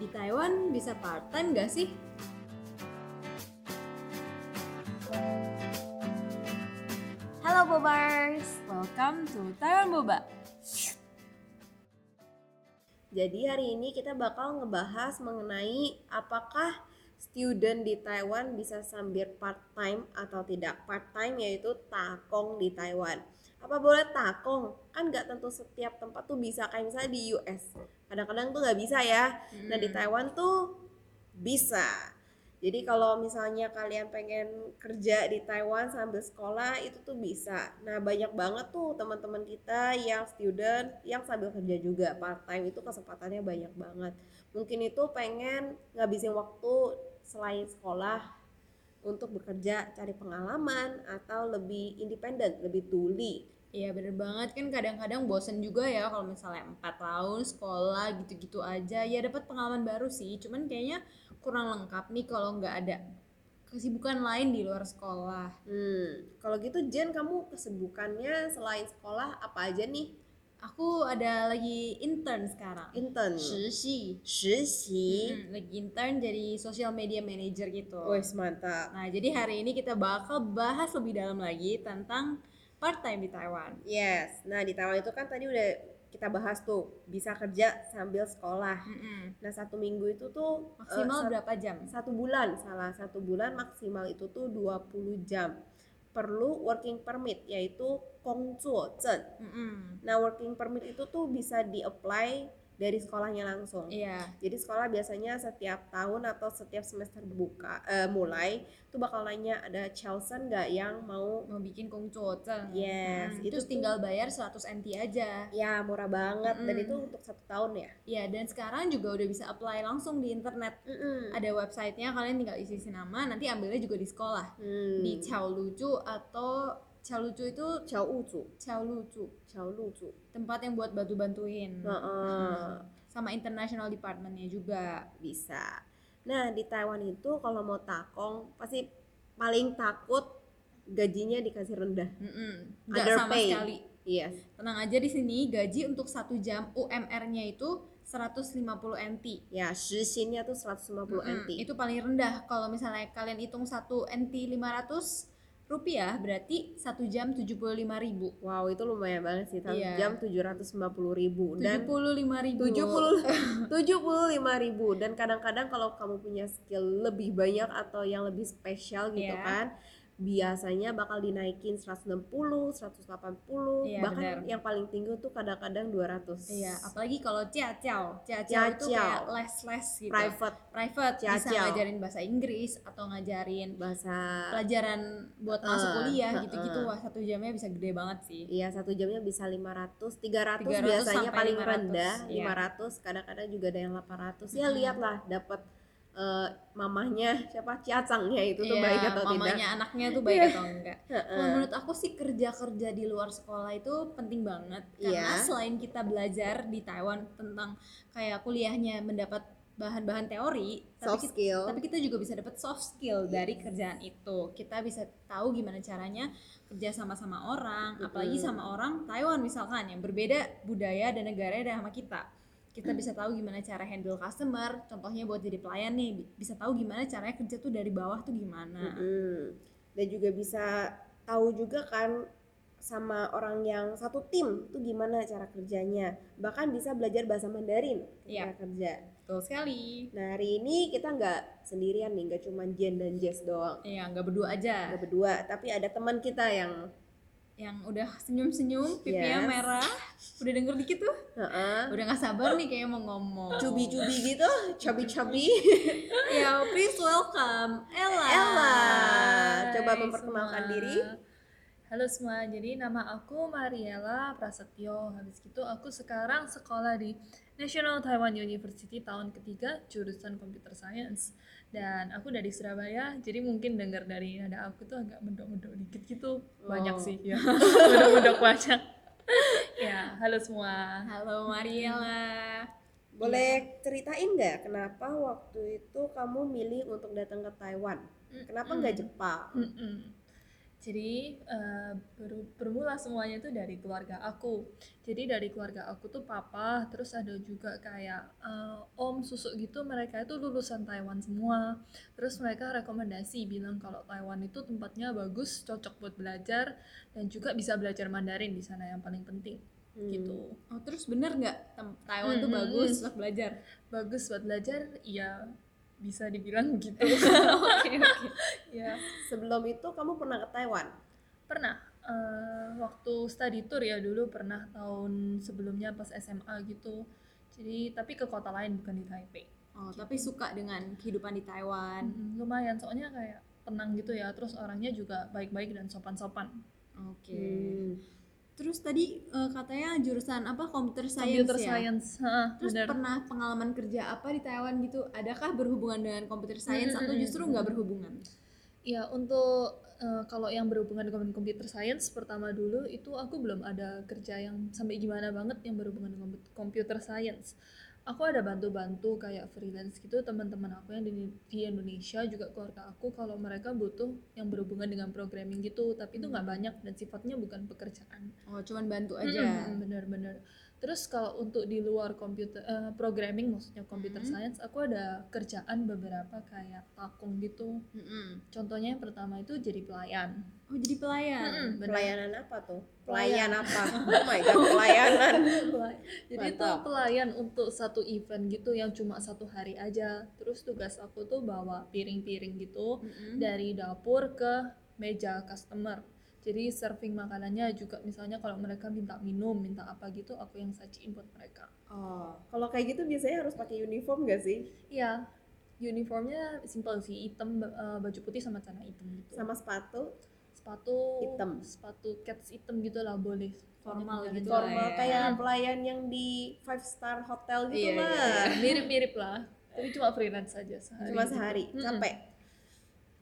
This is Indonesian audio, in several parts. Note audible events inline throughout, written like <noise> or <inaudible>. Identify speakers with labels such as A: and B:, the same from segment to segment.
A: Di Taiwan bisa part time nggak sih?
B: Halo Bobers.
A: Welcome to Taiwan Boba. Jadi hari ini kita bakal ngebahas mengenai apakah student di Taiwan bisa sambil part time atau tidak. Part time yaitu takong di Taiwan. Apa boleh takong? Kan nggak tentu setiap tempat tuh bisa. Kayak misalnya di US, kadang-kadang tuh nggak bisa ya. Nah di Taiwan tuh bisa. Jadi kalau misalnya kalian pengen kerja di Taiwan sambil sekolah itu tuh bisa. Nah banyak banget tuh teman-teman kita yang student yang sambil kerja juga part time itu kesempatannya banyak banget. Mungkin itu pengen ngabisin waktu selain sekolah untuk bekerja cari pengalaman atau lebih independen, lebih tuli.
B: Iya bener banget kan kadang-kadang bosen juga ya kalau misalnya empat tahun sekolah gitu-gitu aja ya dapat pengalaman baru sih cuman kayaknya kurang lengkap nih kalau nggak ada kesibukan lain di luar sekolah
A: Hmm, kalau gitu Jen kamu kesibukannya selain sekolah apa aja nih?
B: aku ada lagi intern sekarang
A: Intern.
B: 实习
A: Shishi.
B: Mm-mm, lagi intern jadi social media manager gitu
A: Hmm. Wes mantap.
B: nah jadi hari ini kita bakal bahas lebih dalam lagi tentang part time di Taiwan
A: Yes. Nah, di Taiwan itu kan tadi udah kita bahas tuh, bisa kerja sambil sekolah.
B: Mm-mm.
A: Nah, satu minggu itu tuh eh,
B: maksimal
A: sat-
B: berapa jam
A: satu bulan, salah satu bulan maksimal itu tuh 20 jam. Perlu working permit yaitu kongzuozhen.
B: Mm-mm.
A: Nah, working permit itu tuh bisa di-apply dari sekolahnya langsung.
B: iya
A: Jadi sekolah biasanya setiap tahun atau setiap semester buka eh, mulai tuh bakal nanya ada Chelsea nggak yang mau
B: mau bikin kongcoceng
A: Yes,
B: itu
A: itu tuh-
B: Hmm, tinggal bayar 100 NT aja
A: ya murah banget dan
B: Mm-mm.
A: itu untuk satu tahun ya.
B: ya dan sekarang juga udah bisa apply langsung di internet
A: Mm-mm.
B: ada websitenya kalian tinggal isi isi nama nanti ambilnya juga di sekolah
A: Hmm.
B: di Chao Lucu atau Chao Lucu itu
A: Chao Uzu,
B: Chao Lucu
A: Chao Luzu.
B: tempat yang buat bantu bantuin
A: Heeh.
B: sama international departmentnya juga
A: Bisa. Nah, di Taiwan itu kalau mau takong pasti paling takut gajinya dikasih rendah.
B: Mm-mm. nggak sama
A: Underpay.
B: sekali
A: Yes.
B: tenang aja di sini gaji untuk satu jam UMR-nya itu 150 NT
A: Ya, shishinnya tuh 150 NT.
B: Mm-mm, Itu paling rendah. Kalau misalnya kalian hitung 1 NT 500 rupiah berarti 1 jam 75.000 ribu.
A: Wow, itu lumayan banget sih. Satu
B: Iya.
A: jam 750.000 dan
B: 75 ribu. <laughs>
A: 70 75.000 dan kadang-kadang kalau kamu punya skill lebih banyak atau yang lebih spesial gitu
B: Iya.
A: kan biasanya bakal dinaikin 160, 180
B: Iya,
A: bahkan
B: benar.
A: yang paling tinggi tuh kadang-kadang 200.
B: Iya, apalagi kalau ciao-ciao. Ciao-ciao itu
A: Ciao-ciao.
B: kayak les-les gitu.
A: private
B: Private, bisa
A: Ciao-ciao.
B: ngajarin bahasa Inggris atau ngajarin
A: bahasa
B: pelajaran buat
A: Eh,
B: masuk
A: eh,
B: kuliah gitu-gitu.
A: eh.
B: Wah, satu jamnya bisa gede banget sih.
A: Iya, satu jamnya bisa 500, 300,
B: 300
A: biasanya
B: sampai
A: paling
B: 500,
A: rendah,
B: iya.
A: 500, kadang-kadang juga ada yang 800. Ya
B: Mm-mm.
A: lihatlah dapat eh, mamahnya siapa ciacangnya itu tuh
B: Iya,
A: baik atau
B: mamanya
A: tidak.
B: anaknya tuh baik
A: Iya.
B: atau enggak.
A: Heeh.
B: Kalau menurut aku sih kerja-kerja di luar sekolah itu penting banget karena
A: Iya.
B: selain kita belajar di Taiwan tentang kayak kuliahnya mendapat bahan-bahan teori,
A: Soft
B: tapi kita,
A: skill. Iya.
B: tapi kita juga bisa dapat soft skill dari kerjaan itu. Kita bisa tahu gimana caranya kerja sama sama orang, apalagi
A: Mm-mm.
B: sama orang Taiwan misalkan yang berbeda budaya dan negaranya sama kita.
A: Mm.
B: Kita bisa tahu gimana cara handle customer, contohnya buat jadi pelayan nih, bi- bisa tahu gimana caranya kerja tuh dari bawah tuh gimana.
A: Mm-mm. Dan juga bisa tahu juga kan sama orang yang satu tim tuh gimana cara kerjanya. Bahkan bisa belajar bahasa Mandarin
B: Iya.
A: ketika kerja.
B: Betul sekali.
A: Nah hari ini kita nggak sendirian nih, nggak cuma Jen dan Jess doang.
B: Iya, nggak berdua aja.
A: Nggak berdua, tapi ada teman kita yang
B: Yang udah senyum-senyum, pipinya
A: Yes.
B: merah. Udah denger dikit tuh.
A: heeh,
B: Udah nggak sabar nih kayaknya mau ngomong.
A: cubi-cubi gitu, cabi-cabi.
B: Ya, please welcome Ella.
A: Ella. Coba
C: Hai
A: memperkenalkan
C: semua.
A: diri.
C: Halo semua, jadi nama aku Mariela Prasetyo. Habis gitu aku sekarang sekolah di National Taiwan University tahun ketiga jurusan Computer Science. Dan aku dari Surabaya, jadi mungkin dengar dari nada aku tuh agak mendok-mendok dikit gitu. Banyak
A: Oh.
C: sih
A: <laughs>
C: ya. mendok-mendok banyak. ya, halo semua.
B: Halo Mariela.
A: Boleh ceritain nggak kenapa waktu itu kamu milih untuk datang ke Taiwan? Kenapa nggak Jepang?
C: Mm-mm. Jadi eh, ber- bermula semuanya itu dari keluarga aku. Jadi dari keluarga aku tuh papa, terus ada juga kayak eh, om, susuk gitu, mereka itu lulusan Taiwan semua. Terus mereka rekomendasi bilang kalau Taiwan itu tempatnya bagus, cocok buat belajar dan juga bisa belajar Mandarin di sana yang paling penting gitu.
B: Oh, terus bener nggak Tem- Taiwan tuh
C: Mm-mm.
B: bagus buat belajar?
C: Bagus buat belajar, iya bisa dibilang gitu.
B: <laughs> Oke, oke.
C: <laughs> ya,
A: Sebelum itu kamu pernah ke Taiwan?
C: pernah eh, waktu study tour ya dulu pernah tahun sebelumnya pas SMA gitu. Jadi tapi ke kota lain bukan di Taipei.
B: Oh, tapi suka dengan kehidupan di Taiwan.
C: Mm, lumayan soalnya kayak tenang gitu ya. Terus orangnya juga baik-baik dan sopan-sopan.
B: Oke.
A: Hmm.
B: Terus tadi eh, katanya jurusan apa computer science
C: Computer
B: ya?
C: science. Hah,
B: Terus
C: bener.
B: pernah pengalaman kerja apa di Taiwan gitu? Adakah berhubungan dengan computer science atau
C: Mm-mm.
B: justru nggak berhubungan?
C: Ya untuk eh, kalau yang berhubungan dengan computer science pertama dulu itu aku belum ada kerja yang sampai gimana banget yang berhubungan dengan komput- computer science. Aku ada bantu-bantu kayak freelance gitu teman-teman aku yang di, di Indonesia juga keluarga aku kalau mereka butuh yang berhubungan dengan programming gitu tapi itu nggak banyak dan sifatnya bukan pekerjaan
B: Oh, cuman bantu
C: Mm-mm,
B: aja.
C: bener-bener terus kalau untuk di luar komputer eh, programming maksudnya computer
B: Mm.
C: science aku ada kerjaan beberapa kayak takung gitu
B: Mm-mm.
C: Contohnya yang pertama itu jadi pelayan.
B: Oh, jadi pelayan.
C: Mm-mm, benar. <laughs>
A: Pelayanan apa tuh?
C: Pelayan.
A: Pelayan apa? Oh my god, pelayanan.
C: jadi itu
A: Mantap.
C: pelayan untuk satu event gitu yang cuma satu hari aja. Terus tugas aku tuh bawa piring-piring gitu
B: Mm-mm.
C: dari dapur ke meja customer. Jadi serving makanannya juga misalnya kalau mereka minta minum, minta apa gitu aku yang sajiin buat mereka.
B: Oh.
A: Kalau kayak gitu biasanya harus pakai uniform gak sih?
C: Iya, uniformnya simple sih, hitam eh, baju putih sama celana hitam gitu.
A: Sama sepatu
C: sepatu
A: Hitam.
C: sepatu cats hitam gitu lah boleh.
B: Formal
C: Soalnya
B: gitu
C: negara-
B: lah
A: formal
B: ya.
A: kayak pelayan yang di five star hotel gitu
B: Iya,
A: lah.
B: iya, iya.
C: Nah, mirip-mirip lah tapi cuma freelance saja sehari
A: Cuma
C: gitu.
A: sehari,
C: Mm-mm.
A: capek.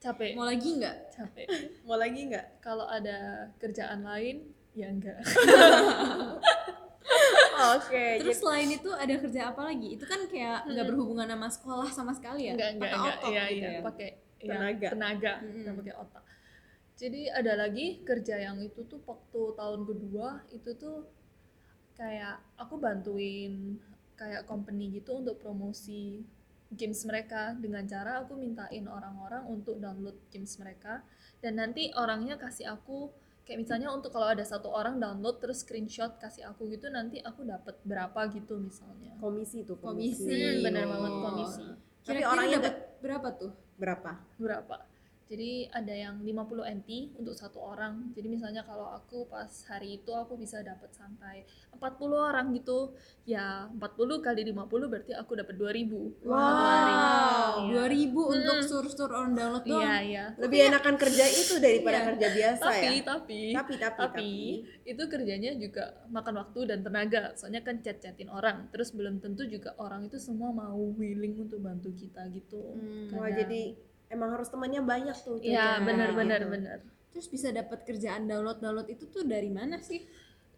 C: capek
B: Mau lagi nggak?
C: capek
A: Mau lagi nggak?
C: kalau ada kerjaan lain ya enggak
A: Oke. gitu.
B: Terus selain itu ada kerja apa lagi? Itu kan kayak nggak
C: gitu. Mm-mm.
B: berhubungan sama sekolah sama sekali ya?
C: enggak enggak
B: Pakai
C: enggak
B: otot
C: iya
B: gitu
C: iya
B: ya?
C: pakai ya,
A: Tenaga.
C: tenaga
B: Mm-mm.
C: nggak pakai otak jadi ada lagi kerja yang itu tuh waktu tahun kedua itu tuh kayak aku bantuin kayak company gitu untuk promosi games mereka dengan cara aku mintain orang-orang untuk download games mereka dan nanti orangnya kasih aku kayak misalnya untuk kalau ada satu orang download terus screenshot kasih aku gitu nanti aku dapat berapa gitu misalnya
A: komisi tuh
B: Komisi.
C: Hmm, benar banget
B: Oh.
C: komisi
A: Tapi
B: Kira-kira
A: orangnya
B: dapat berapa tuh?
A: Berapa?
C: berapa jadi ada yang 50 NT untuk satu orang jadi misalnya kalau aku pas hari itu aku bisa dapat sampai 40 orang gitu ya 40 kali 50 berarti aku dapat 2000
A: Wow. Iya.
C: Wow.
B: Dua ribu untuk
C: Mm-mm.
B: sur-sur on download doang.
C: iya iya
A: Lebih enakan kerja itu daripada
C: Iya.
A: kerja biasa
C: tapi,
A: ya.
C: tapi
A: Tapi tapi tapi.
C: tapi itu kerjanya juga makan waktu dan tenaga soalnya kan chat-chatin orang terus belum tentu juga orang itu semua mau willing untuk bantu kita gitu
B: Hmm.
A: Wah,
C: Kadang.
A: jadi emang harus temannya banyak tuh.
C: iya
A: cocoknya
C: benar benar
A: gitu.
C: benar
B: Terus bisa dapat kerjaan download-download itu tuh dari mana sih?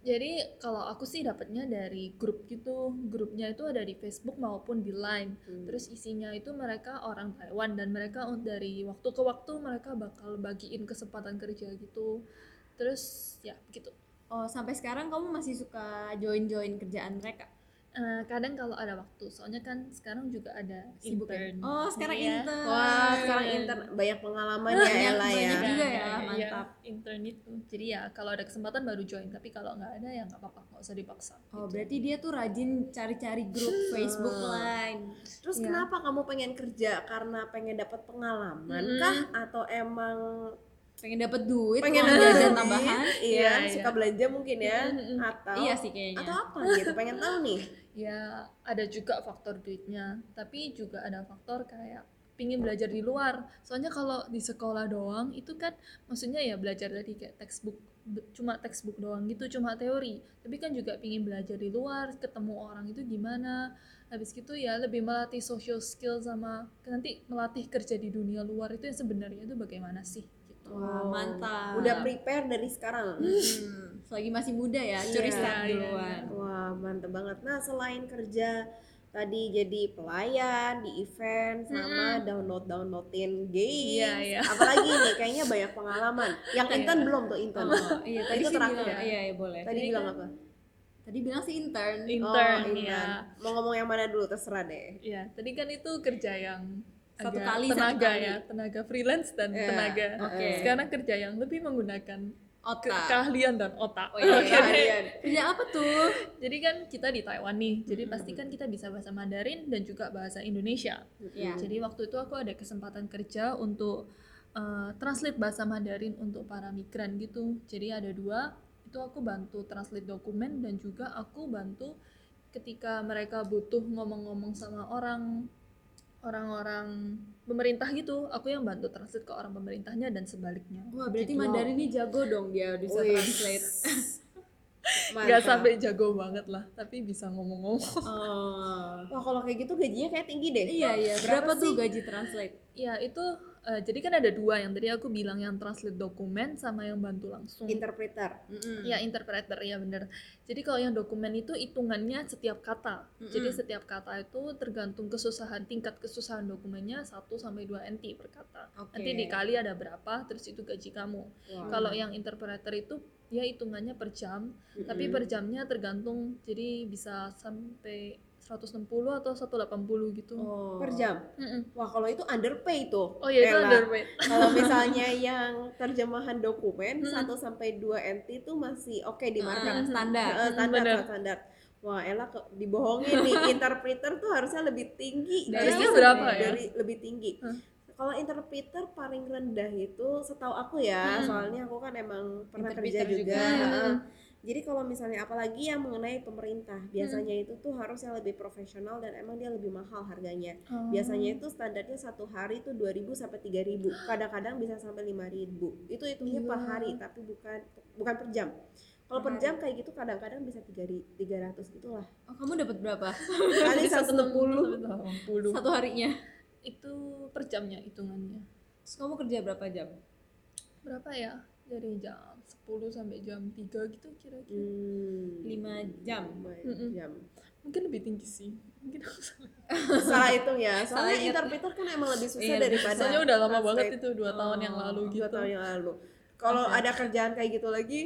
C: Jadi kalau aku sih dapatnya dari grup gitu. Grupnya itu ada di Facebook maupun di Line.
A: Hmm.
C: Terus isinya itu mereka orang Taiwan dan mereka un- dari waktu ke waktu mereka bakal bagiin kesempatan kerja gitu. Terus ya begitu.
B: Oh, sampai sekarang kamu masih suka join-join kerjaan mereka?
C: Eh, kadang kalau ada waktu, soalnya kan sekarang juga ada
B: Sibuk ya?
C: intern.
B: Oh, sekarang
C: Iya.
B: intern.
A: Wah, sekarang intern banyak pengalaman ya
B: Banyak,
A: Ella ya.
B: banyak juga ya,
C: Iya,
B: mantap.
C: intern itu. Jadi ya kalau ada kesempatan baru join, tapi kalau nggak ada ya nggak apa-apa, nggak usah dipaksa.
B: Oh,
C: gitu.
B: berarti dia tuh rajin cari-cari grup Facebook lain.
A: Terus
C: Iya.
A: kenapa kamu pengen kerja? Karena pengen dapat pengalaman
C: Mm-mm.
A: kah atau emang
B: Pengen dapat duit,
A: pengen
B: uang
A: ada
B: jajan <laughs>
A: duit?
B: tambahan.
A: Iya,
C: Iya,
A: suka
C: iya.
A: belanja mungkin ya
C: Mm-mm.
A: atau
B: Iya sih kayaknya.
A: atau apa gitu. Pengen tahu nih.
C: ya ada juga faktor duitnya tapi juga ada faktor kayak pingin belajar di luar soalnya kalau di sekolah doang itu kan maksudnya ya belajar dari kayak textbook be- cuma textbook doang gitu cuma teori tapi kan juga pingin belajar di luar ketemu orang itu gimana habis gitu ya lebih melatih social skill sama nanti melatih kerja di dunia luar itu yang sebenarnya itu bagaimana sih gitu
B: Wah, mantap.
A: Oh, Udah prepare dari sekarang.
B: Hmm, selagi masih muda ya, curi
A: Iya,
B: start
C: iya,
B: duluan.
A: Wah, mantep banget. Nah, selain kerja tadi jadi pelayan di event sama download downloadin games
C: Iya, iya.
A: apalagi nih kayaknya banyak pengalaman yang Intan belum tuh Intan
B: Oh, iya tadi
A: Itu
B: sih
A: terakhir
B: bilang,
A: ya?
B: iya, iya boleh.
A: tadi
C: jadi
A: bilang
C: kan-
A: apa
B: Tadi bilang sih intern.
C: Iya.
A: Oh,
C: Intern,
A: Intan.
C: iya.
A: mau ngomong yang mana dulu terserah deh
C: Ya, tadi kan itu kerja yang
B: Satu
C: agak
B: kali, satu
C: tenaga
B: kali.
C: ya, tenaga freelance dan
A: Iya,
C: tenaga.
B: oke.
C: Sekarang kerja yang lebih menggunakan ke-
B: Otak.
C: keahlian dan otak.
B: Oh, iya,
C: Oke.
A: Kalian.
B: Kerja apa tuh?
C: Jadi kan kita di Taiwan nih, jadi
B: Hmm.
C: pasti kan kita bisa bahasa Mandarin dan juga bahasa Indonesia.
B: Iya.
C: Jadi waktu itu aku ada kesempatan kerja untuk eh, translate bahasa Mandarin untuk para migran gitu. Jadi ada dua, itu aku bantu translate dokumen dan juga aku bantu ketika mereka butuh ngomong-ngomong sama orang orang-orang pemerintah gitu, aku yang bantu translate ke orang pemerintahnya dan sebaliknya.
B: Wah, berarti
A: Gitu.
B: Mandarin ini jago dong dia bisa
A: Wih. <laughs>
B: translate.
A: Mantap.
C: Gak sampai jago banget lah, tapi bisa ngomong-ngomong.
B: Oh.
A: Wah kalau kayak gitu gajinya kayak tinggi deh.
B: Iya, iya. Berapa,
A: Berapa
B: tuh
A: sih?
B: gaji translate?
C: Ya itu eh, jadi kan ada dua yang tadi aku bilang yang translate dokumen sama yang bantu langsung.
A: Interpreter.
B: Mm-mm.
C: ya interpreter ya bener. Jadi kalau yang dokumen itu hitungannya setiap kata. Jadi
B: Mm-mm.
C: setiap kata itu tergantung kesusahan tingkat kesusahan dokumennya 1 sampai 2 NT per kata.
B: Oke.
C: Nanti dikali ada berapa terus itu gaji kamu.
A: Wah.
C: Kalau yang interpreter itu ya hitungannya per jam,
A: Mm-mm.
C: tapi per jamnya tergantung jadi bisa sampai 160 atau 180 gitu.
B: Oh.
A: per jam.
C: Mm-mm.
A: Wah kalau itu underpay tuh.
C: Oh ya itu
A: Ella.
C: underpaid.
A: <laughs> Kalau misalnya yang terjemahan dokumen
C: Hmm.
A: 1 sampai 2 NT tuh masih oke di
B: Ah,
A: market.
B: standar.
A: Eh, standar
C: bener.
A: standar. Wah, Ella ke, dibohongin
B: <laughs>
A: nih. Interpreter tuh harusnya lebih tinggi.
B: Dari
A: Jauh
B: berapa
C: ya?
A: Dari lebih tinggi.
C: Hmm.
A: Kalau interpreter paling rendah itu setahu aku ya,
C: Hmm.
A: soalnya aku kan emang pernah kerja
B: Interpreter
A: juga.
B: juga. Hmm.
A: Heeh. Jadi kalau misalnya apalagi yang mengenai pemerintah, biasanya itu tuh harus yang lebih profesional dan emang dia lebih mahal harganya. Biasanya itu standarnya satu hari itu 2000 sampai 3000. Kadang-kadang bisa sampai 5000. Itu hitungnya per
C: Gila.
A: hari tapi bukan bukan per jam. Kalau
B: Per
A: per
B: hari.
A: jam kayak gitu kadang-kadang bisa 3 300 gitulah.
B: Oh, kamu dapat berapa?
A: Kali 160.
C: 160.
B: Satu harinya.
C: itu per jamnya hitungannya
B: Terus kamu kerja berapa jam?
C: berapa ya dari jam 10 sampai jam 3 gitu kira-kira
A: Hmm.
B: 5 jam.
A: lumayan
C: Mm-mm.
A: jam.
C: mungkin lebih tinggi sih mungkin <laughs> aku salah
A: Salah hitung ya.
B: Salah
A: Soalnya
B: ingat.
A: interpreter kan emang lebih susah
B: Iya, lebih
A: daripada
C: soalnya udah lama banget
A: translate.
C: itu dua tahun yang
B: Oh,
C: lalu
A: dua
C: gitu
A: tahun ya. yang lalu. Kalau
C: Oke.
A: ada kerjaan kayak gitu lagi,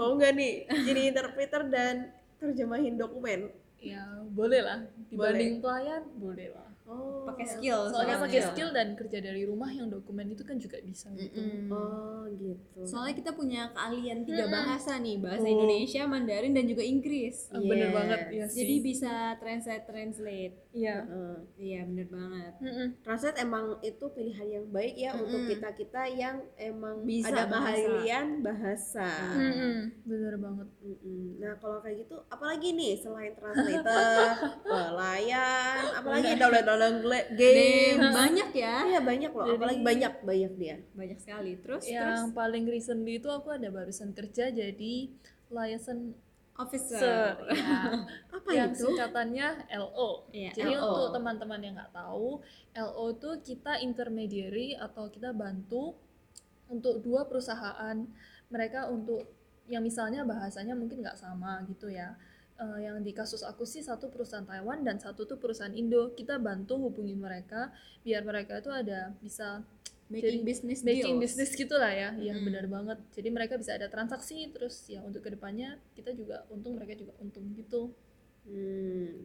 A: mau nggak nih jadi interpreter dan terjemahin dokumen?
C: ya boleh lah dibanding pelayan boleh lah
A: Oh,
B: Pakai skill.
C: soalnya
A: Soalnya-
C: pakai skill dan kerja dari rumah yang dokumen itu kan juga bisa gitu
B: Mm-mm.
A: Oh gitu.
B: Soalnya kita punya keahlian tiga
C: Mm-mm.
B: bahasa nih, bahasa
A: Tuh.
B: Indonesia, Mandarin dan juga Inggris.
C: Ah, bener
A: Yes.
C: banget ya sih
B: Jadi bisa translate translate.
C: iya
A: Heeh.
B: Iya, bener banget.
A: Nah.
C: Mm-mm.
A: Translate emang itu pilihan yang baik ya
B: Mm-mm.
A: untuk kita kita yang emang
B: Bisa
A: ada
B: bahasa.
A: keahlian bahasa.
B: Mm.
C: Mm-mm. bener banget
A: Mm-mm. Nah kalau kayak gitu, apalagi nih selain translator, pelayan, apalagi download-download gle-
B: Game
A: game.
B: banyak ya.
A: Iya banyak loh,
C: Jadi-
A: apalagi banyak banyak dia.
B: Banyak sekali. Terus
C: yang
B: terus
C: paling recently itu aku ada barusan kerja jadi liaison
B: officer.
C: officer ya
A: <laughs> Apa
C: yang
A: itu?
C: singkatannya LO.
B: Iya,
C: Jadi
B: LO.
C: untuk teman-teman yang nggak tahu, LO itu kita intermediary atau kita bantu untuk dua perusahaan mereka untuk yang misalnya bahasanya mungkin nggak sama gitu ya. Eh, yang di kasus aku sih satu perusahaan Taiwan dan satu tuh perusahaan Indo. Kita bantu hubungin mereka biar mereka itu ada bisa
B: Making
C: Jadi,
B: business
C: making
B: deals.
C: business gitulah ya ya
B: Mm-mm.
C: benar banget jadi mereka bisa ada transaksi terus ya untuk kedepannya kita juga untung mereka juga untung gitu
A: Hmm.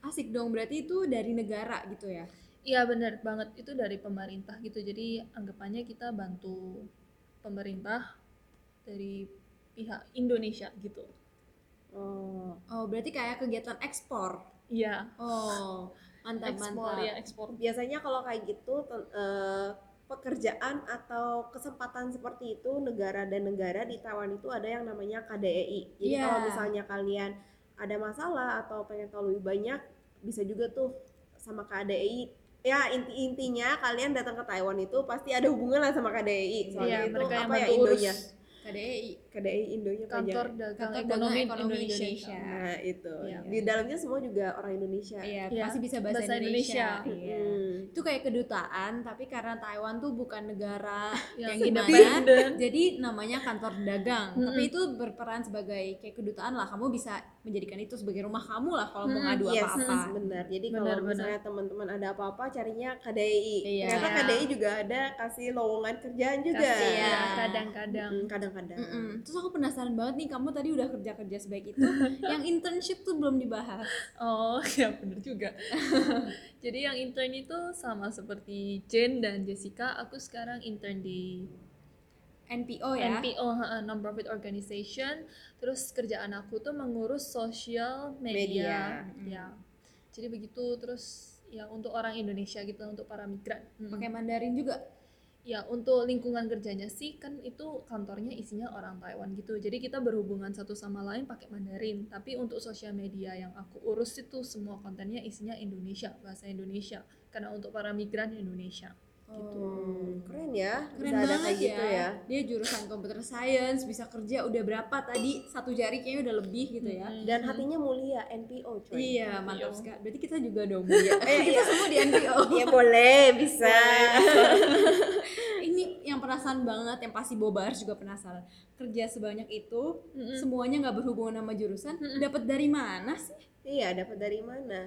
B: Asik dong, berarti itu dari negara gitu ya.
C: iya benar banget itu dari pemerintah gitu jadi anggapannya kita bantu pemerintah dari pihak Indonesia gitu
A: Oh,
B: Oh, berarti kayak kegiatan ekspor.
C: iya
B: Oh, mantap
C: ekspor
B: mantap.
C: ya ekspor
A: biasanya kalau kayak gitu ten- eh, pekerjaan atau kesempatan seperti itu negara dan negara di Taiwan itu ada yang namanya KDEI. Jadi
B: Iya.
A: kalau misalnya kalian ada masalah atau pengen tahu lebih banyak, bisa juga tuh sama KDEI. Ya inti intinya kalian datang ke Taiwan itu pasti ada hubungan lah sama KDEI. Soalnya
C: iya
A: itu
C: mereka yang
A: apa ya
C: bantu urus
A: Indonya.
B: KDI.
A: KDI Indonya
C: Kantor
A: panjang.
C: Dagang
B: Kantor
C: Ekonomi,
B: Dagang Ekonomi
C: Indonesia.
B: Indonesia.
A: Nah, itu.
B: Iya.
A: Di dalamnya semua juga orang Indonesia.
B: Iya,
C: Iya,
B: pasti bisa bahasa,
C: bahasa
B: Indonesia.
C: Indonesia.
B: Iya.
A: Mm.
B: Itu kayak kedutaan, tapi karena Taiwan tuh bukan negara yang
C: Yang
B: gimana,
C: independen.
B: jadi namanya kantor dagang. Tapi
C: Mm-mm.
B: itu berperan sebagai kayak kedutaan lah. Kamu bisa menjadikan itu sebagai rumah kamu lah kalau mau
C: Mm,
B: ngadu
A: yes, hmm,
B: apa-apa.
A: benar. Jadi
C: Benar,
A: kalau
C: benar.
A: misalnya teman-teman ada apa-apa carinya KDI.
B: Iya.
A: Ternyata
C: Iya.
A: KDI juga ada kasih lowongan kerjaan juga.
C: Kasih ya,
B: Iya.
C: kadang-kadang.
A: Mm, Kadang-kadang.
B: Mm-mm. Terus aku penasaran banget nih, kamu tadi udah kerja-kerja sebaik itu,
A: <laughs>
B: yang internship tuh belum dibahas.
C: Oh, <laughs> ya bener juga. Jadi yang intern itu sama seperti Jane dan Jessica, aku sekarang intern di
B: NPO ya.
C: NPO, ha, non-profit organization. Terus kerjaan aku tuh mengurus social media.
B: Media.
C: Ya. Jadi begitu terus ya untuk orang Indonesia gitu untuk para migran. Mm.
B: Pakai Mandarin juga.
C: Ya, untuk lingkungan kerjanya sih kan itu kantornya isinya orang Taiwan gitu. Jadi kita berhubungan satu sama lain pakai Mandarin. Tapi untuk sosial media yang aku urus itu semua kontennya isinya Indonesia, bahasa Indonesia. Karena untuk para migran Indonesia.
B: Gitu.
A: Hmm, Keren ya.
B: Keren
A: bisa ada
B: banget ya.
A: kayak gitu ya.
B: Dia jurusan computer science, bisa kerja udah berapa tadi? Satu jari kayaknya udah lebih gitu ya.
A: Dan hatinya mulia NPO coy.
B: Iya,
C: NPO.
B: mantap sekali. Berarti kita juga dong.
A: <laughs>
B: Iya.
A: Eh,
B: kita semua di NPO.
A: <laughs> Iya boleh bisa.
B: Ini yang penasaran banget, yang pasti Bobar juga penasaran. Kerja sebanyak itu,
A: Hmm.
C: Mm-mm.
B: semuanya nggak berhubungan sama jurusan, dapat dari mana sih?
A: iya dapat dari mana?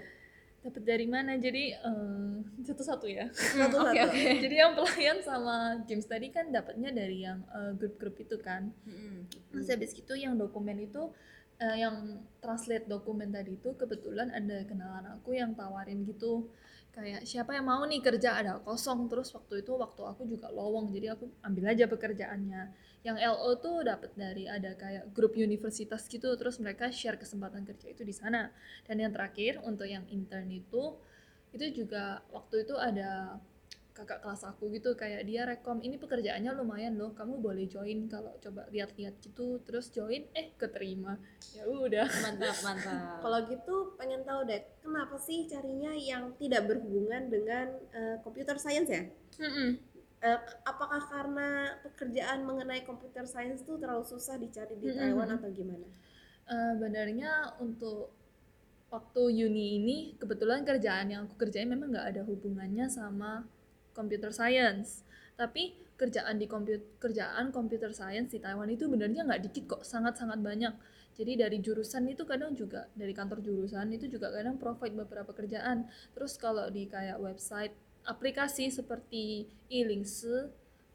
C: Dapat dari mana? Jadi eh, satu-satu ya.
A: <laughs>
C: <laughs>
A: Satu-satu.
B: Oke, oke.
C: Jadi yang pelayan sama James tadi kan dapatnya dari yang eh, grup-grup itu kan.
A: Hmm.
B: Mm-mm.
C: Terus habis itu yang dokumen itu eh, yang translate dokumen tadi itu kebetulan ada kenalan aku yang tawarin gitu kayak siapa yang mau nih kerja ada kosong terus waktu itu waktu aku juga lowong jadi aku ambil aja pekerjaannya yang LO tuh dapat dari ada kayak grup universitas gitu terus mereka share kesempatan kerja itu di sana dan yang terakhir untuk yang intern itu itu juga waktu itu ada kakak kelas aku gitu kayak dia rekom ini pekerjaannya lumayan loh kamu boleh join kalau coba lihat-lihat gitu terus join eh keterima ya udah
B: Mantap, mantap.
A: Kalau gitu pengen tahu deh kenapa sih carinya yang tidak berhubungan dengan eh, computer science ya? Eh, apakah karena pekerjaan mengenai computer science itu terlalu susah dicari di
C: Mm-mm.
A: Taiwan atau gimana?
C: Eh, benarnya untuk waktu uni ini kebetulan kerjaan yang aku kerjain memang nggak ada hubungannya sama computer science tapi kerjaan di kompu- kerjaan computer science di Taiwan itu benarnya nggak dikit kok sangat-sangat banyak jadi dari jurusan itu kadang juga dari kantor jurusan itu juga kadang provide beberapa kerjaan terus kalau di kayak website aplikasi seperti e-links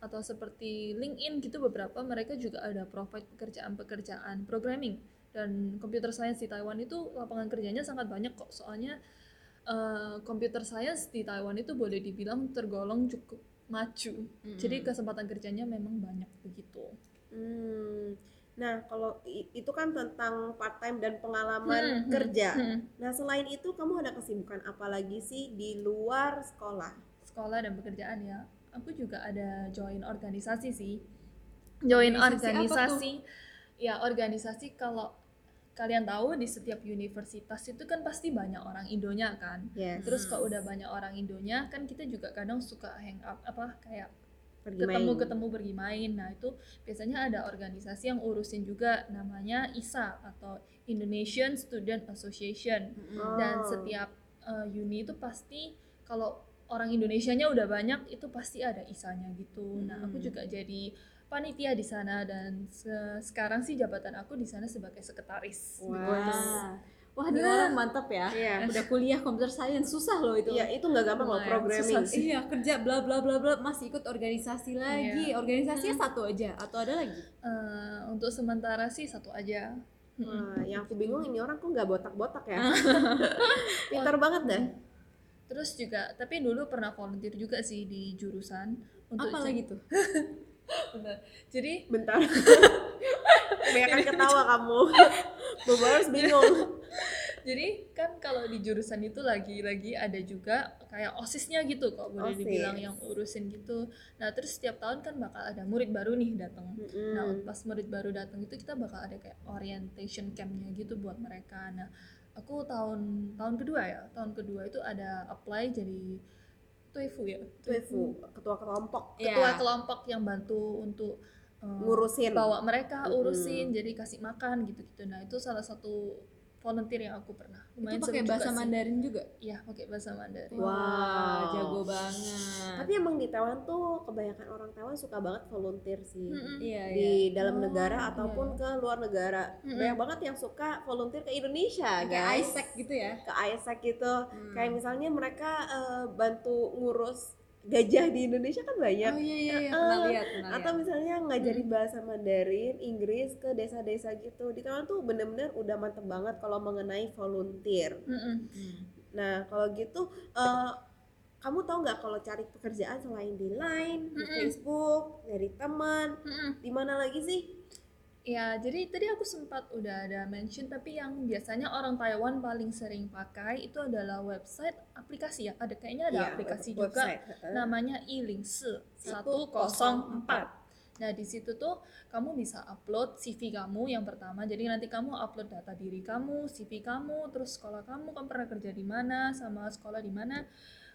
C: atau seperti LinkedIn gitu beberapa mereka juga ada provide pekerjaan-pekerjaan programming dan computer science di Taiwan itu lapangan kerjanya sangat banyak kok soalnya eh, computer science di Taiwan itu boleh dibilang tergolong cukup maju
B: Hmm.
C: jadi kesempatan kerjanya memang banyak begitu
A: Hmm. Nah, kalau i- itu kan tentang part time dan pengalaman
C: Hmm, hmm,
A: kerja.
C: hmm.
A: Nah, selain itu kamu ada kesibukan apa lagi sih di luar sekolah?
C: sekolah dan pekerjaan ya aku juga ada join organisasi sih join
B: Organisasi apa
C: organisasi ya organisasi kalau kalian tahu di setiap universitas itu kan pasti banyak orang Indonya kan
A: Yes.
C: terus kalau udah banyak orang Indonya kan kita juga kadang suka hang up apa kayak
A: Pergi
C: ketemu
A: main.
C: ketemu pergi main nah itu biasanya ada organisasi yang urusin juga namanya ISA atau Indonesian Student Association
B: Mm-mm.
C: dan
A: Oh.
C: setiap eh, uni itu pasti kalau orang Indonesianya udah banyak itu pasti ada isanya gitu. Nah, aku
B: Mm.
C: juga jadi panitia di sana dan se- sekarang sih jabatan aku di sana sebagai sekretaris. Gitu.
A: Wah.
B: Wah. Wah, ini orang mantap ya.
A: Iya.
B: Udah kuliah computer science susah loh itu.
A: Iya, itu nggak gampang loh
C: Lumayan
A: programming.
C: Gitu.
A: Iya.
C: susah
B: Iya, kerja bla bla bla bla masih ikut organisasi lagi. Organisasinya
A: Hmm.
B: satu aja atau ada lagi?
C: Eh, untuk sementara sih satu aja. Mm-mm.
A: Wah, yang aku bingung ini orang kok nggak botak-botak
C: <laughs>
A: ya? Pintar banget dah.
C: Terus juga tapi dulu pernah volunteer juga sih di jurusan untuk
B: Apa lagi tuh?
C: Bener. Jadi <laughs>
A: Bentar. Kebanyakan ketawa kamu. Bobo harus bingung.
C: Jadi kan kalau di jurusan itu lagi-lagi ada juga kayak osisnya gitu kok boleh
A: Osis.
C: dibilang yang urusin gitu. Nah terus setiap tahun kan bakal ada murid baru nih datang. Nah
A: Mm-mm.
C: pas murid baru datang itu kita bakal ada kayak orientation campnya gitu buat mereka. Nah aku tahun tahun kedua ya tahun kedua itu ada apply jadi TUEFU ya
A: Itu Evu, ketua kelompok.
C: ketua
B: Iya.
C: kelompok yang bantu untuk eh,
A: ngurusin
C: bawa mereka
A: Gitu. Mm-mm.
C: urusin jadi kasih makan gitu-gitu nah itu salah satu volunteer yang aku pernah
B: Itu
C: lumayan seru
B: pakai
C: juga
B: bahasa
C: sih.
B: Mandarin juga.
C: iya pakai bahasa Mandarin
A: Wow.
B: Wah, jago banget.
A: tapi emang di Taiwan tuh kebanyakan orang Taiwan suka banget volunteer sih
C: Mm-mm.
B: iya, iya.
A: di dalam
B: Oh,
A: negara
B: iya.
A: ataupun ke luar negara
C: Mm-mm.
A: banyak banget yang suka volunteer ke Indonesia
B: kayak
A: guys
B: Isaac gitu ya.
A: ke Isaac gitu
B: Hmm.
A: kayak misalnya mereka eh, bantu ngurus gajah di Indonesia kan banyak
B: Oh iya iya iya, Mm.
A: Eh,
B: pernah lihat, pernah
A: atau
B: lihat.
A: misalnya ngajarin bahasa Mandarin, Inggris ke desa-desa gitu. Di Taiwan tuh bener-bener udah mantep banget kalau mengenai volunteer.
C: Mm-mm.
B: Hmm.
A: Nah kalau gitu, eh, kamu tahu nggak kalau cari pekerjaan selain di Line, di
C: Mm-mm.
A: Facebook, dari teman,
C: Mm-mm.
A: di mana lagi sih?
C: Ya, jadi tadi aku sempat udah ada mention, tapi yang biasanya orang Taiwan paling sering pakai itu adalah website aplikasi ya. Ada kayaknya ada
A: Iya,
C: aplikasi
A: web-
C: juga Nah,
A: website, heeh.
C: namanya i104. Nah, di situ tuh kamu bisa upload CV kamu yang pertama. Jadi nanti kamu upload data diri kamu, CV kamu, terus sekolah kamu, kamu pernah kerja di mana, sama sekolah di mana.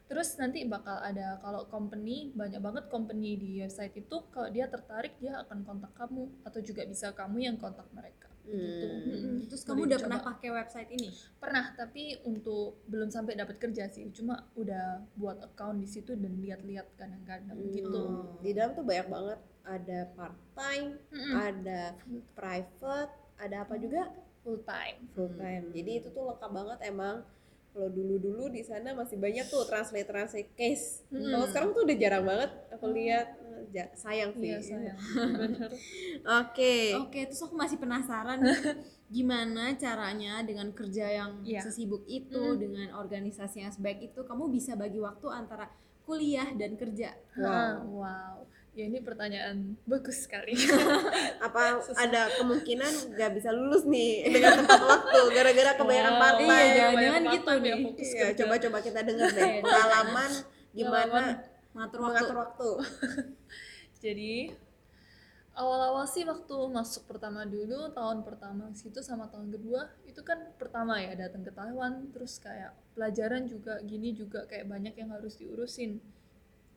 C: Terus nanti bakal ada kalau company banyak banget company di website itu kalau dia tertarik dia akan kontak kamu atau juga bisa kamu yang kontak mereka. Gitu.
A: Hmm.
C: Mm-mm.
B: Terus
C: Boleh
B: kamu udah
C: dicoba.
B: pernah pakai website ini?
C: Pernah, tapi untuk belum sampai dapat kerja sih. Cuma udah buat account di situ dan lihat-lihat kadang-kadang
A: Hmm.
C: gitu.
A: Di dalam tuh banyak banget ada part time,
C: Mm-mm.
A: ada private, ada apa juga?
C: Full time.
A: full
C: Hmm.
A: time. Jadi itu tuh lengkap banget emang. Kalau dulu-dulu di sana masih banyak tuh translate translate case.
C: Mm-mm.
A: Kalau sekarang tuh udah jarang banget aku lihat. Eh, ja- sayang sih.
C: Hmm. Iya, sayang. Oh, Bener.
A: Oke.
B: Oke, terus aku masih penasaran gimana caranya dengan kerja yang
C: Iya.
B: sesibuk itu,
C: Mm.
B: dengan organisasi yang sebaik itu, kamu bisa bagi waktu antara kuliah dan kerja.
C: Wow.
A: Wow.
C: wow. Ya ini pertanyaan bagus sekali.
A: Apa
C: Susah.
A: ada kemungkinan nggak bisa lulus nih <laughs> dengan tepat waktu gara-gara kebanyakan
C: Wow.
A: part
B: Iya,
A: time?
B: jangan-jangan
C: Kebanyakan part
B: gitu
C: time ya,
B: nih.
C: fokus
A: Iya,
C: kerja.
A: coba-coba kita denger deh
B: Iya,
A: pengalaman gimana
C: Pengalaman
B: Mengatur waktu.
A: mengatur waktu.
C: Jadi awal-awal sih waktu masuk pertama dulu tahun pertama situ sama tahun kedua itu kan pertama ya datang ke Taiwan terus kayak pelajaran juga gini juga kayak banyak yang harus diurusin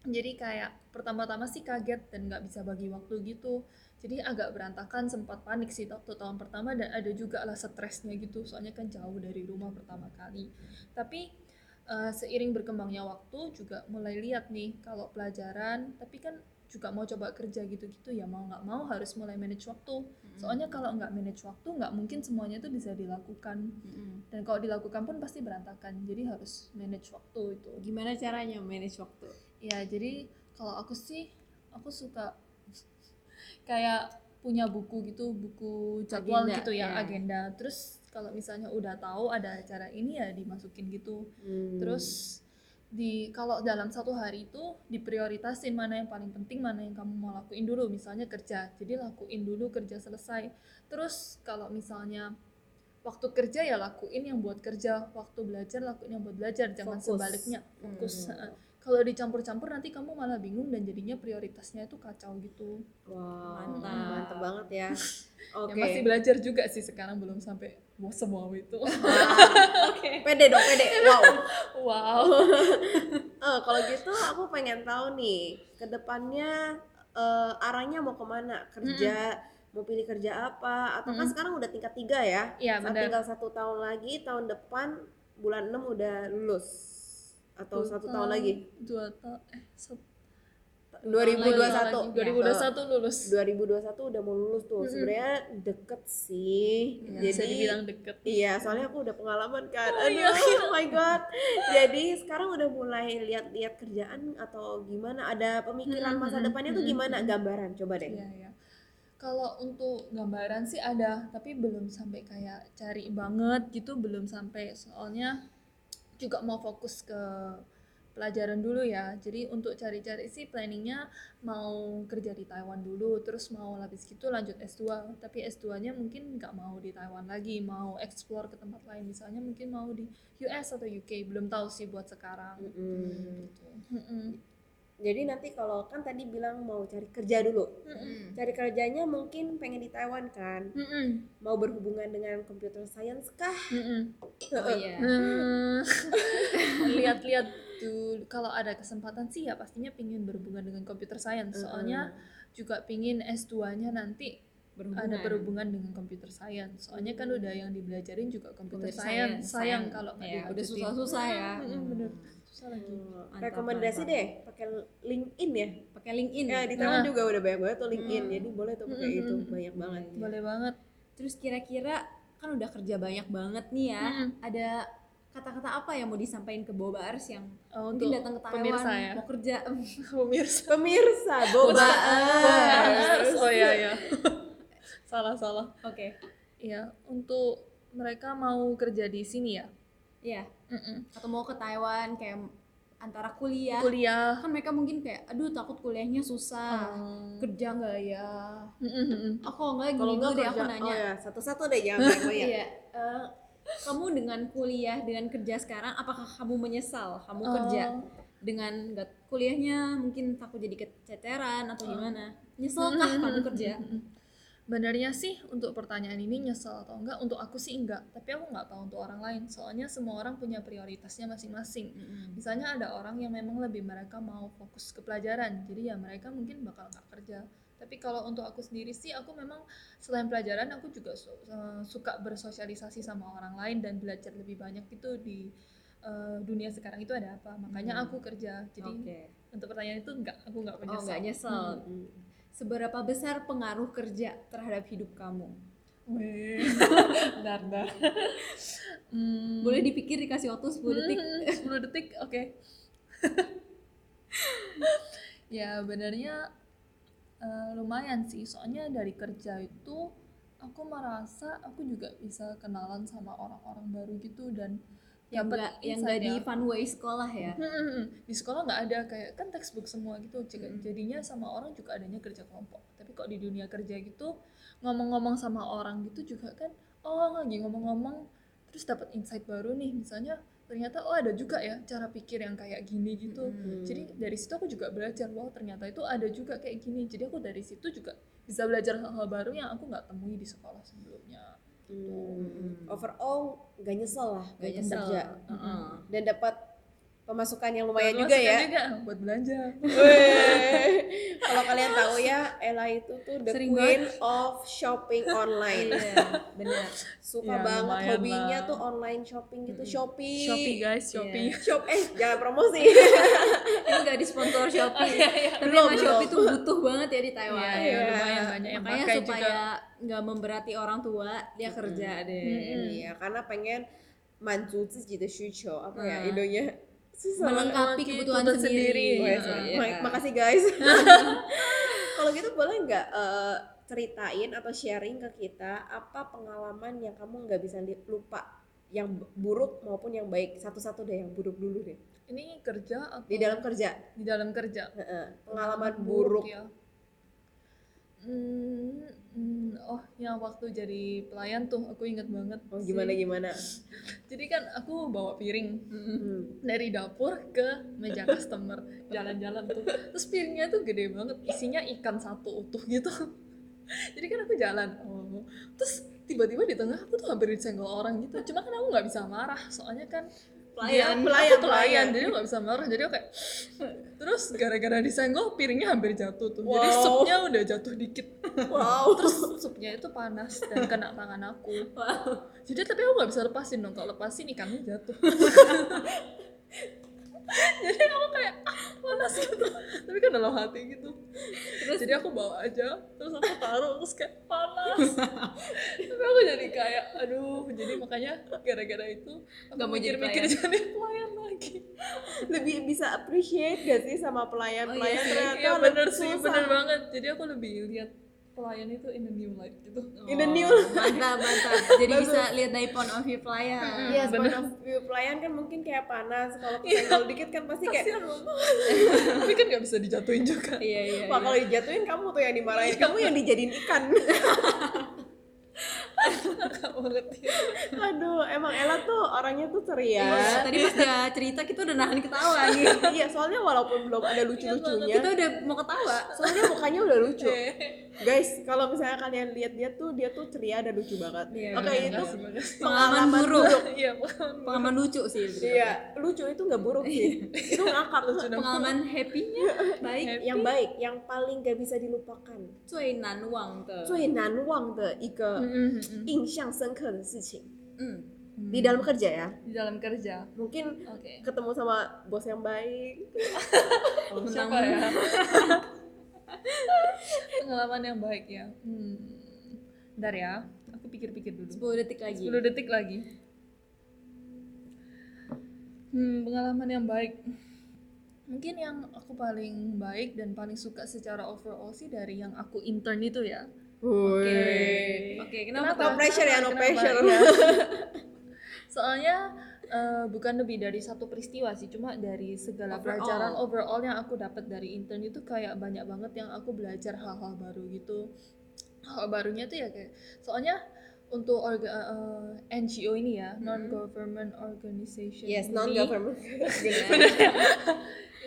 C: jadi kayak pertama-tama sih kaget dan nggak bisa bagi waktu gitu jadi agak berantakan sempat panik sih waktu tahun pertama dan ada juga lah stresnya gitu soalnya kan jauh dari rumah pertama kali tapi eh, seiring berkembangnya waktu juga mulai lihat nih kalau pelajaran tapi kan juga mau coba kerja gitu-gitu ya mau nggak mau harus mulai manage waktu
B: Hmm.
C: soalnya kalau nggak manage waktu nggak mungkin semuanya itu bisa dilakukan
B: Mm-mm.
C: dan kalau dilakukan pun pasti berantakan jadi harus manage waktu itu
B: Gimana caranya manage waktu?
C: Ya, jadi kalau aku sih aku suka <laughs> kayak punya buku gitu, buku jadwal
B: Agenda,
C: gitu ya,
B: ya.
C: agenda. Terus kalau misalnya udah tahu ada acara ini ya dimasukin gitu.
A: Hmm.
C: Terus di kalau dalam satu hari itu diprioritasin mana yang paling penting, mana yang kamu mau lakuin dulu. Misalnya kerja, jadi lakuin dulu kerja selesai. Terus kalau misalnya waktu kerja ya lakuin yang buat kerja, waktu belajar lakuin yang buat belajar, jangan
A: Fokus.
C: sebaliknya fokus.
A: Hmm.
C: Heeh. Kalau dicampur-campur nanti kamu malah bingung dan jadinya prioritasnya itu kacau gitu.
A: Wow,
B: Mantap.
A: mantap banget ya. Oke.
C: Ya
A: <laughs>
C: masih belajar juga sih sekarang belum sampai wah semua itu.
A: Wow. Pede dong, pede. Wow.
C: wow.
A: Eh, kalau gitu aku pengen tahu nih kedepannya eh, arahnya mau kemana kerja mau pilih kerja apa atau kan
C: Mm-mm.
A: sekarang udah tingkat tiga ya
C: Iya
A: Saat
C: benar.
A: tinggal satu tahun lagi tahun depan bulan 6 udah lulus atau satu tahun lagi
C: Dua tahun eh satu-
B: Iya.
A: 2021
C: 2021 lulus.
A: 2021 udah mau lulus tuh
C: Mm-mm.
A: sebenarnya deket sih
B: Iya.
C: Bisa
A: jadi
C: dibilang deket.
A: Iya, soalnya aku udah pengalaman kan. Aduh,
C: iya.
A: oh my god. Jadi sekarang udah mulai lihat-lihat kerjaan atau gimana? Ada pemikiran masa
C: Mm-mm,
A: depannya tuh
C: mm-mm,
A: gimana?
C: mm-mm.
A: Gambaran, coba deh.
C: Iya ya. Kalau untuk gambaran sih ada, tapi belum sampai kayak cari banget gitu, belum sampai soalnya juga mau fokus ke pelajaran dulu ya. Jadi untuk cari-cari sih planningnya mau kerja di Taiwan dulu, terus mau habis gitu lanjut S2. Tapi S2-nya mungkin nggak mau di Taiwan lagi, mau explore ke tempat lain, misalnya mungkin mau di US atau UK, belum tahu sih buat sekarang. gitu.
A: Mm-mm.
C: Mm-mm.
A: Jadi nanti kalau kan tadi bilang mau cari kerja dulu.
C: Mm-mm.
A: Cari kerjanya mungkin pengen di Taiwan kan.
C: Mm-mm.
A: Mau berhubungan dengan computer science kah?
C: Mm-mm.
B: Oh iya.
C: <laughs> Hmm. lihat-lihat dulu kalau ada kesempatan sih ya pastinya pingin berhubungan dengan computer science soalnya juga pingin S2-nya nanti
B: berhubungan.
C: ada berhubungan dengan computer science. Soalnya kan udah yang dibelajarin juga
B: Computer
C: computer, science.
B: science,
C: Sayang
B: science.
C: kalau gitu nggak
B: Ya, udah
C: dilanjutin.
B: susah-susah ya.
C: Mm, mm, bener.
B: Hmm.
C: Susah lagi.
B: Mantap,
A: Eh, rekomendasi
B: mantap.
A: deh pakai LinkedIn ya
B: Pakai LinkedIn.
A: ya di Taiwan
C: Nah.
A: juga udah banyak banget tuh LinkedIn
B: Hmm.
A: jadi boleh tuh pakai
C: Hmm,
A: itu
C: hmm, hmm.
A: banyak banget
B: Iya.
C: Boleh banget.
B: Terus kira-kira kan udah kerja banyak banget nih ya.
C: Mm.
B: Ada kata-kata apa yang mau disampaikan ke Bobaers yang
C: Oh,
B: mungkin
C: untuk
B: datang ke Taiwan
C: pemirsa ya.
B: mau kerja? <laughs>
C: Pemirsa.
A: Iya. pemirsa boba
C: <laughs> Bobaers. Oh iya iya. <laughs> salah salah.
B: Oke.
C: Iya, untuk mereka mau kerja di sini ya.
B: Iya.
C: Mm-mm.
B: Atau mau ke Taiwan kayak antara kuliah.
C: Kuliah.
B: Kan mereka mungkin kayak aduh takut kuliahnya susah.
C: Oh.
B: Kerja nggak ya?
C: Mm-mm, mm-mm.
B: Aku kalau nggak gini
A: kalau
B: dulu
A: nggak
B: deh
A: kerja
B: aku nanya.
A: oh ya satu-satu deh ya. jangan banyak
B: Iya. eh, kamu dengan kuliah dengan kerja sekarang apakah kamu menyesal kamu
C: Oh.
B: kerja dengan nggak kuliahnya mungkin takut jadi keceteran atau gimana? Hmm. Nyeselkah kamu kan <laughs> kerja?
C: Benarnya sih untuk pertanyaan ini nyesel atau enggak, untuk aku sih enggak. Tapi aku nggak tahu untuk orang lain, soalnya semua orang punya prioritasnya masing-masing. Misalnya ada orang yang memang lebih mereka mau fokus ke pelajaran, jadi ya mereka mungkin bakal nggak kerja. Tapi kalau untuk aku sendiri sih, aku memang selain pelajaran, aku juga su- eh, suka bersosialisasi sama orang lain dan belajar lebih banyak itu di eh, dunia sekarang itu ada apa. Makanya
B: Hmm.
C: aku kerja. Jadi
B: Oke.
C: untuk pertanyaan itu enggak, aku
B: Oh
C: enggak menyesal.
B: nggak
A: Hmm,
B: nyesel. Seberapa besar pengaruh kerja terhadap hidup kamu? <laughs>
C: Weh, Hmm. bentar, bentar. Hmm.
B: Boleh dipikir dikasih waktu 10 detik.
C: Hmm, 10 detik, oke. <laughs> ya, benernya eh, lumayan sih. Soalnya dari kerja itu aku merasa aku juga bisa kenalan sama orang-orang baru gitu dan
B: Yang
C: dapet
B: nggak yang
C: insight
B: nggak di
C: ya.
B: funway sekolah ya.
C: Hmm, hmm, hmm. di sekolah nggak ada kayak kan textbook semua gitu Jadi-
B: Mm-mm.
C: jadinya sama orang juga adanya kerja kelompok tapi kok di dunia kerja gitu ngomong-ngomong sama orang gitu juga kan oh lagi ngomong-ngomong terus dapat insight baru nih misalnya ternyata oh ada juga ya cara pikir yang kayak gini gitu
A: hmm.
B: Mm-mm.
C: jadi dari situ aku juga belajar wow ternyata itu ada juga kayak gini jadi aku dari situ juga bisa belajar hal-hal baru yang aku nggak temui di sekolah sebelumnya
A: Hmm. overall gak nyesel lah
B: Nggak Hmm.
A: untuk
B: nyesel.
A: kerja
B: Heeh.
A: dan dapat pemasukan yang lumayan
C: Dan
A: juga
C: masukkan
A: ya
C: kan juga buat belanja
A: Weh. kalau kalian tahu ya Ella itu tuh the
B: Sering
A: queen of shopping online
B: Iya, benar.
A: suka
C: Ya,
A: banget
C: lumayan
A: hobinya
C: lah.
A: tuh online shopping gitu
B: Mm-mm.
A: Shopee
C: Shopee guys Shopee <laughs>
A: shop eh jangan
B: <laughs>
A: promosi
B: Ini nggak disponsor
A: Iya,
B: Shopee. Tapi
A: Belum,
B: emang Shopee
A: belum.
B: tuh butuh banget ya di Taiwan.
C: Iya,
A: iya,
C: lumayan banyak yang
B: Makanya Hmm.
C: pakai
B: supaya nggak memberati orang tua, dia kerja deh.
C: Mm-mm.
A: iya
B: Mm.
A: karena pengen manju ziji de shuqiu apa ya
B: Nah.
A: Indonya susah banget.
B: Melengkapi
C: Melengkapi
B: kebutuhan
C: kebutuhan
B: sendiri.
C: sendiri.
A: Wes,
B: Heeh,
A: ma-
B: iya.
A: makasih guys <laughs> kalau gitu boleh nggak eh, ceritain atau sharing ke kita apa pengalaman yang kamu nggak bisa li- lupa yang bu- buruk maupun yang baik satu-satu deh yang buruk dulu deh
C: ini kerja atau
A: di dalam kerja
C: di dalam kerja
A: Heeh, pengalaman buruk
C: ya Hmm, hmm, oh yang waktu jadi pelayan tuh aku inget banget
A: oh, gimana
C: sih.
A: gimana
C: jadi kan aku bawa piring
A: Hmm.
C: dari dapur ke meja customer jalan-jalan tuh terus piringnya tuh gede banget isinya ikan satu utuh gitu <laughs> jadi kan aku jalan oh terus tiba-tiba di tengah aku tuh hampir disenggol orang gitu cuma kan aku nggak bisa marah soalnya kan
A: Iya, Pelayan,
C: dia-
A: pelayan,
C: aku pelayan
A: pelayan.
C: jadi aku nggak bisa marah jadi aku kayak terus gara-gara disenggol piringnya hampir jatuh tuh jadi
A: Wow.
C: supnya udah jatuh dikit
A: wow
C: terus supnya itu panas dan kena tangan aku jadi tapi aku nggak bisa lepasin dong kalau lepasin ikannya jatuh jadi aku kayak ah, panas gitu tapi kan dalam hati gitu jadi aku bawa aja terus aku taruh terus kayak panas tapi aku jadi kayak aduh jadi makanya gara-gara itu aku
B: Nggak mau jadi
C: mikir-mikir jadi pelayan lagi
A: lebih bisa appreciate gak sih
B: Oh,
A: sama pelayan-pelayan
B: iya sih.
A: ternyata
C: iya bener
A: lebih
C: sih
A: susah.
C: bener banget jadi aku lebih lihat pelayan itu in a new light gitu
A: In the new.
B: mantap mantap jadi bisa lihat dari point of view pelayan
A: Iya, point
C: bener.
A: of view pelayan kan mungkin kayak panas kalau kesenggol dikit kan pasti kayak
C: Kasihan loh. <laughs> tapi kan nggak bisa dijatuhin juga
B: iya iya
A: Wah kalau dijatuhin kamu tuh yang dimarahin, kamu yang dijadiin ikan.
C: Nggak banget ya.
A: <laughs> Aduh, emang Ella tuh orangnya tuh
B: Iya,
A: ceria.
B: tadi pas dia cerita kita udah nahan ketawa nih
A: Iya, soalnya walaupun belum ada
B: kita
A: lucu-lucunya,
B: udah mau ketawa
A: soalnya mukanya udah lucu. Guys, kalau misalnya kalian lihat dia tuh, dia tuh ceria dan lucu banget.
B: Iya,
A: Oke,
B: bener.
A: itu
C: Makasih, makasih.
B: pengalaman
A: Pengalaman <laughs>
B: buruk
C: iya iya pengalaman
B: pengalaman lucu sih gitu. lebih tepatnya.
A: Iya, lucu itu nggak buruk sih. itu ngakak.
B: pengalaman happy-nya baik
A: yang baik, yang paling gak bisa dilupakan.
B: cuy nanwang tuh
A: 最难忘的一个
C: Mm-mm.
A: 印象深刻的事情
B: Mm.
A: di dalam kerja ya.
C: di dalam kerja
A: Mungkin
C: oke
A: ketemu sama bos yang baik.
C: siapa
B: Menang.
C: ya pengalaman yang baik ya hmm. ntar ya aku pikir-pikir dulu
B: 10 detik lagi
C: 10 detik lagi hmm pengalaman yang baik mungkin yang aku paling baik dan paling suka secara overall sih dari yang aku intern itu ya
B: Oke,
A: Woi.
B: oke kenapa?
A: No pressure ya, no
C: Kenapa?
A: pressure.
C: Iya.
A: <laughs>
C: Soalnya eh, bukan lebih dari satu peristiwa sih, cuma dari segala
B: Overall.
C: pelajaran overall yang aku dapat dari intern itu kayak banyak banget yang aku belajar hal-hal baru gitu. Hal barunya tuh ya kayak soalnya untuk orga- eh, NGO ini ya, non government organization.
A: Yes,
C: ini,
A: non government.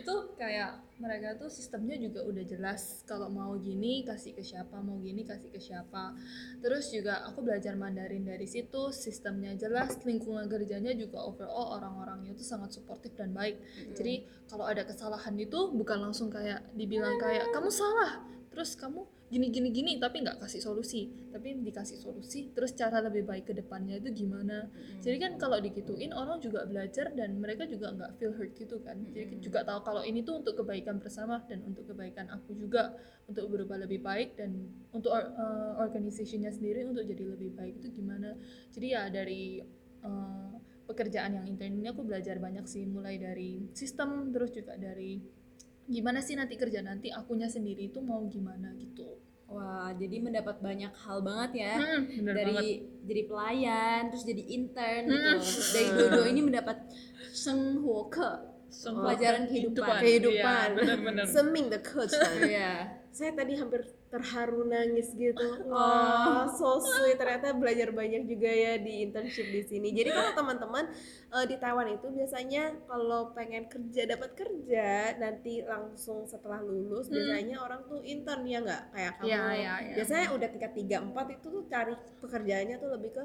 C: itu kayak mereka tuh sistemnya juga udah jelas kalau mau gini kasih ke siapa mau gini kasih ke siapa terus juga aku belajar Mandarin dari situ sistemnya jelas lingkungan kerjanya juga overall orang-orangnya tuh sangat suportif dan baik jadi kalau ada kesalahan itu bukan langsung kayak dibilang kayak kamu salah terus kamu gini gini gini tapi nggak kasih solusi tapi dikasih solusi terus cara lebih baik ke depannya itu gimana jadi kan kalau digituin orang juga belajar dan mereka juga nggak feel hurt gitu kan. Jadi juga tahu kalau ini tuh untuk kebaikan bersama dan untuk kebaikan aku juga untuk berubah lebih baik dan untuk or- eh, organisasinya sendiri untuk jadi lebih baik itu gimana. Jadi ya dari eh, pekerjaan yang intern ini aku belajar banyak sih mulai dari sistem terus juga dari gimana sih nanti kerja nanti akunya sendiri itu mau gimana gitu.
B: Wah, jadi mendapat banyak hal banget ya.
C: Hmm, bener
B: dari
C: banget.
B: jadi pelayan, terus jadi intern gitu.
C: Hmm.
B: Dari dua-dua ini mendapat seng huo ke, pelajaran kehidupan.
A: kehidupan.
C: Oh,
A: <laughs>
C: Iya, bener-bener.
A: Seming the coach. kan?
B: Iya.
A: Saya tadi hampir terharu nangis gitu. Wah, so sweet. Ternyata belajar banyak juga ya di internship di sini. Jadi <gasps> kalau teman-teman eh, di Taiwan itu biasanya kalau pengen kerja dapat kerja nanti langsung setelah lulus biasanya orang tuh intern Hmm. ya nggak kayak kamu.
C: Iya, iya, iya.
A: Biasanya udah tingkat 3 4 itu tuh cari pekerjaannya tuh lebih ke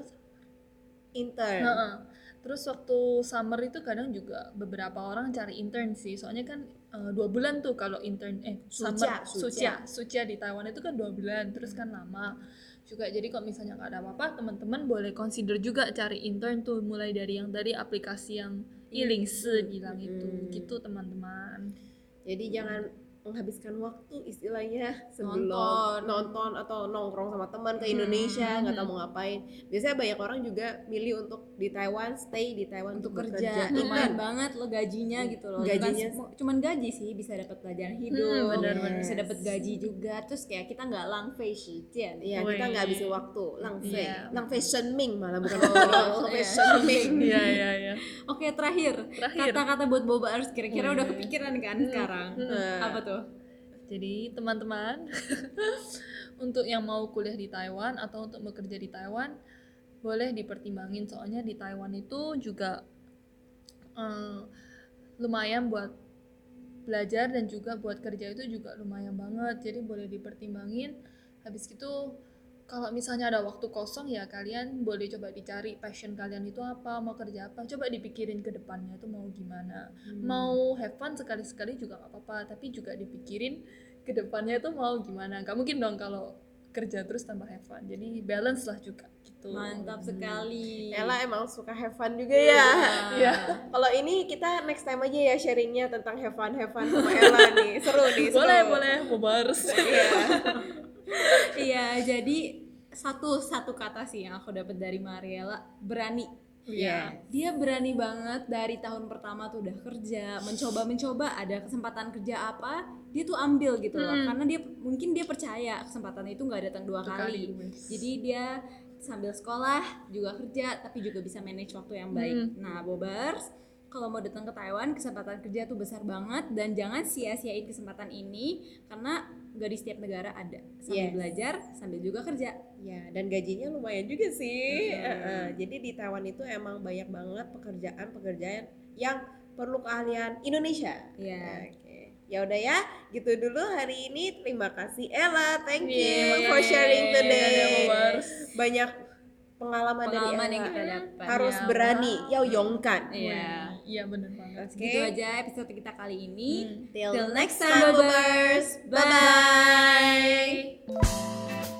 A: intern.
C: Heeh. Terus waktu summer itu kadang juga beberapa orang cari intern sih, soalnya kan eh, dua bulan tuh kalau intern eh summer
A: Suca, Hmm.
C: sucia sucia di Taiwan itu kan dua bulan, terus kan lama juga. Jadi kalau misalnya nggak ada apa-apa, teman-teman boleh consider juga cari intern tuh mulai dari yang tadi aplikasi yang iling bilang itu,
A: Hmm.
C: gitu teman-teman.
A: Jadi jangan menghabiskan waktu istilahnya sebelum nonton, atau nongkrong sama teman
B: Hmm.
A: ke Indonesia nggak tahu mau ngapain. Biasanya banyak orang juga milih untuk di Taiwan stay di Taiwan
B: Untuk kerja,
A: Itu kan
B: iman banget lo gajinya gitu loh.
A: Gajinya-
B: Bukan- cuman gaji sih bisa dapat pelajaran hidup,
C: Hmm, benar-benar.
B: bisa dapat gaji juga. Terus kayak kita nggak langfei shijian.
A: Iya kita
C: Woi.
A: nggak habisin waktu, langfei,
C: Iya.
A: langfei shenming malah
B: <laughs>
A: bukan
B: Oh,
A: langfei
B: iya. <laughs>
A: shenming.
C: Iya iya iya.
B: Oke, terakhir.
C: Terakhir.
B: Kata-kata buat Boba harus kira-kira udah kepikiran kan sekarang.
A: Hmm.
B: Apa tuh?
C: Jadi teman-teman <laughs> untuk yang mau kuliah di Taiwan atau untuk bekerja di Taiwan boleh dipertimbangin soalnya di Taiwan itu juga eh, lumayan buat belajar dan juga buat kerja itu juga lumayan banget jadi boleh dipertimbangin habis gitu kalau misalnya ada waktu kosong ya kalian boleh coba dicari passion kalian itu apa mau kerja apa coba dipikirin ke depannya itu mau gimana mau have fun sekali-sekali juga nggak apa-apa tapi juga dipikirin ke depannya itu mau gimana nggak mungkin dong kalau kerja terus tambah have fun jadi balance lah juga gitu
B: Mantap sekali.
A: Ella emang suka have fun juga ya.
B: Iya.
A: Kalau ini kita next time aja ya sharingnya tentang have fun have fun sama Ella nih, seru nih. Seru.
C: boleh boleh bobars
A: Iya.
B: Iya, jadi satu satu kata sih yang aku dapat dari Mariela, berani.
A: Iya.
B: Dia berani banget dari tahun pertama tuh udah kerja, mencoba-mencoba ada kesempatan kerja apa, dia tuh ambil gitu loh. Karena dia mungkin dia percaya kesempatan itu nggak datang dua
C: Dua
B: kali.
C: kali, wes.
B: Jadi dia sambil sekolah juga kerja tapi juga bisa manage waktu yang baik. Nah, Bobers, kalau mau datang ke Taiwan, kesempatan kerja tuh besar banget dan jangan sia-siain kesempatan ini karena nggak di setiap negara ada. Sambil
A: Yes.
B: belajar, sambil juga kerja.
A: Ya, dan gajinya lumayan juga sih.
B: Mhm.
A: Eh, eh. Jadi di Taiwan itu emang banyak banget pekerjaan-pekerjaan yang perlu keahlian Indonesia.
B: Iya.
A: Oke. Ya udah ya, gitu dulu hari ini.
B: Iya,
A: Terima kasih Ella, thank you
C: Yeay.
A: for sharing
C: Dadah,
A: today.
C: Bobars.
A: Banyak pengalaman,
B: pengalaman
A: dari
B: yang
A: Ella.
B: kita dapat.
A: harus
C: Ya,
A: berani,
C: wow.
A: ya yongkan.
B: Iya.
C: Iya bener banget. Hmm.
A: Oke.
B: Gitu aja episode kita kali ini.
A: Till
B: Till next
A: next time,
B: time,
A: Bobers.
B: Bobers.
A: Bye-bye.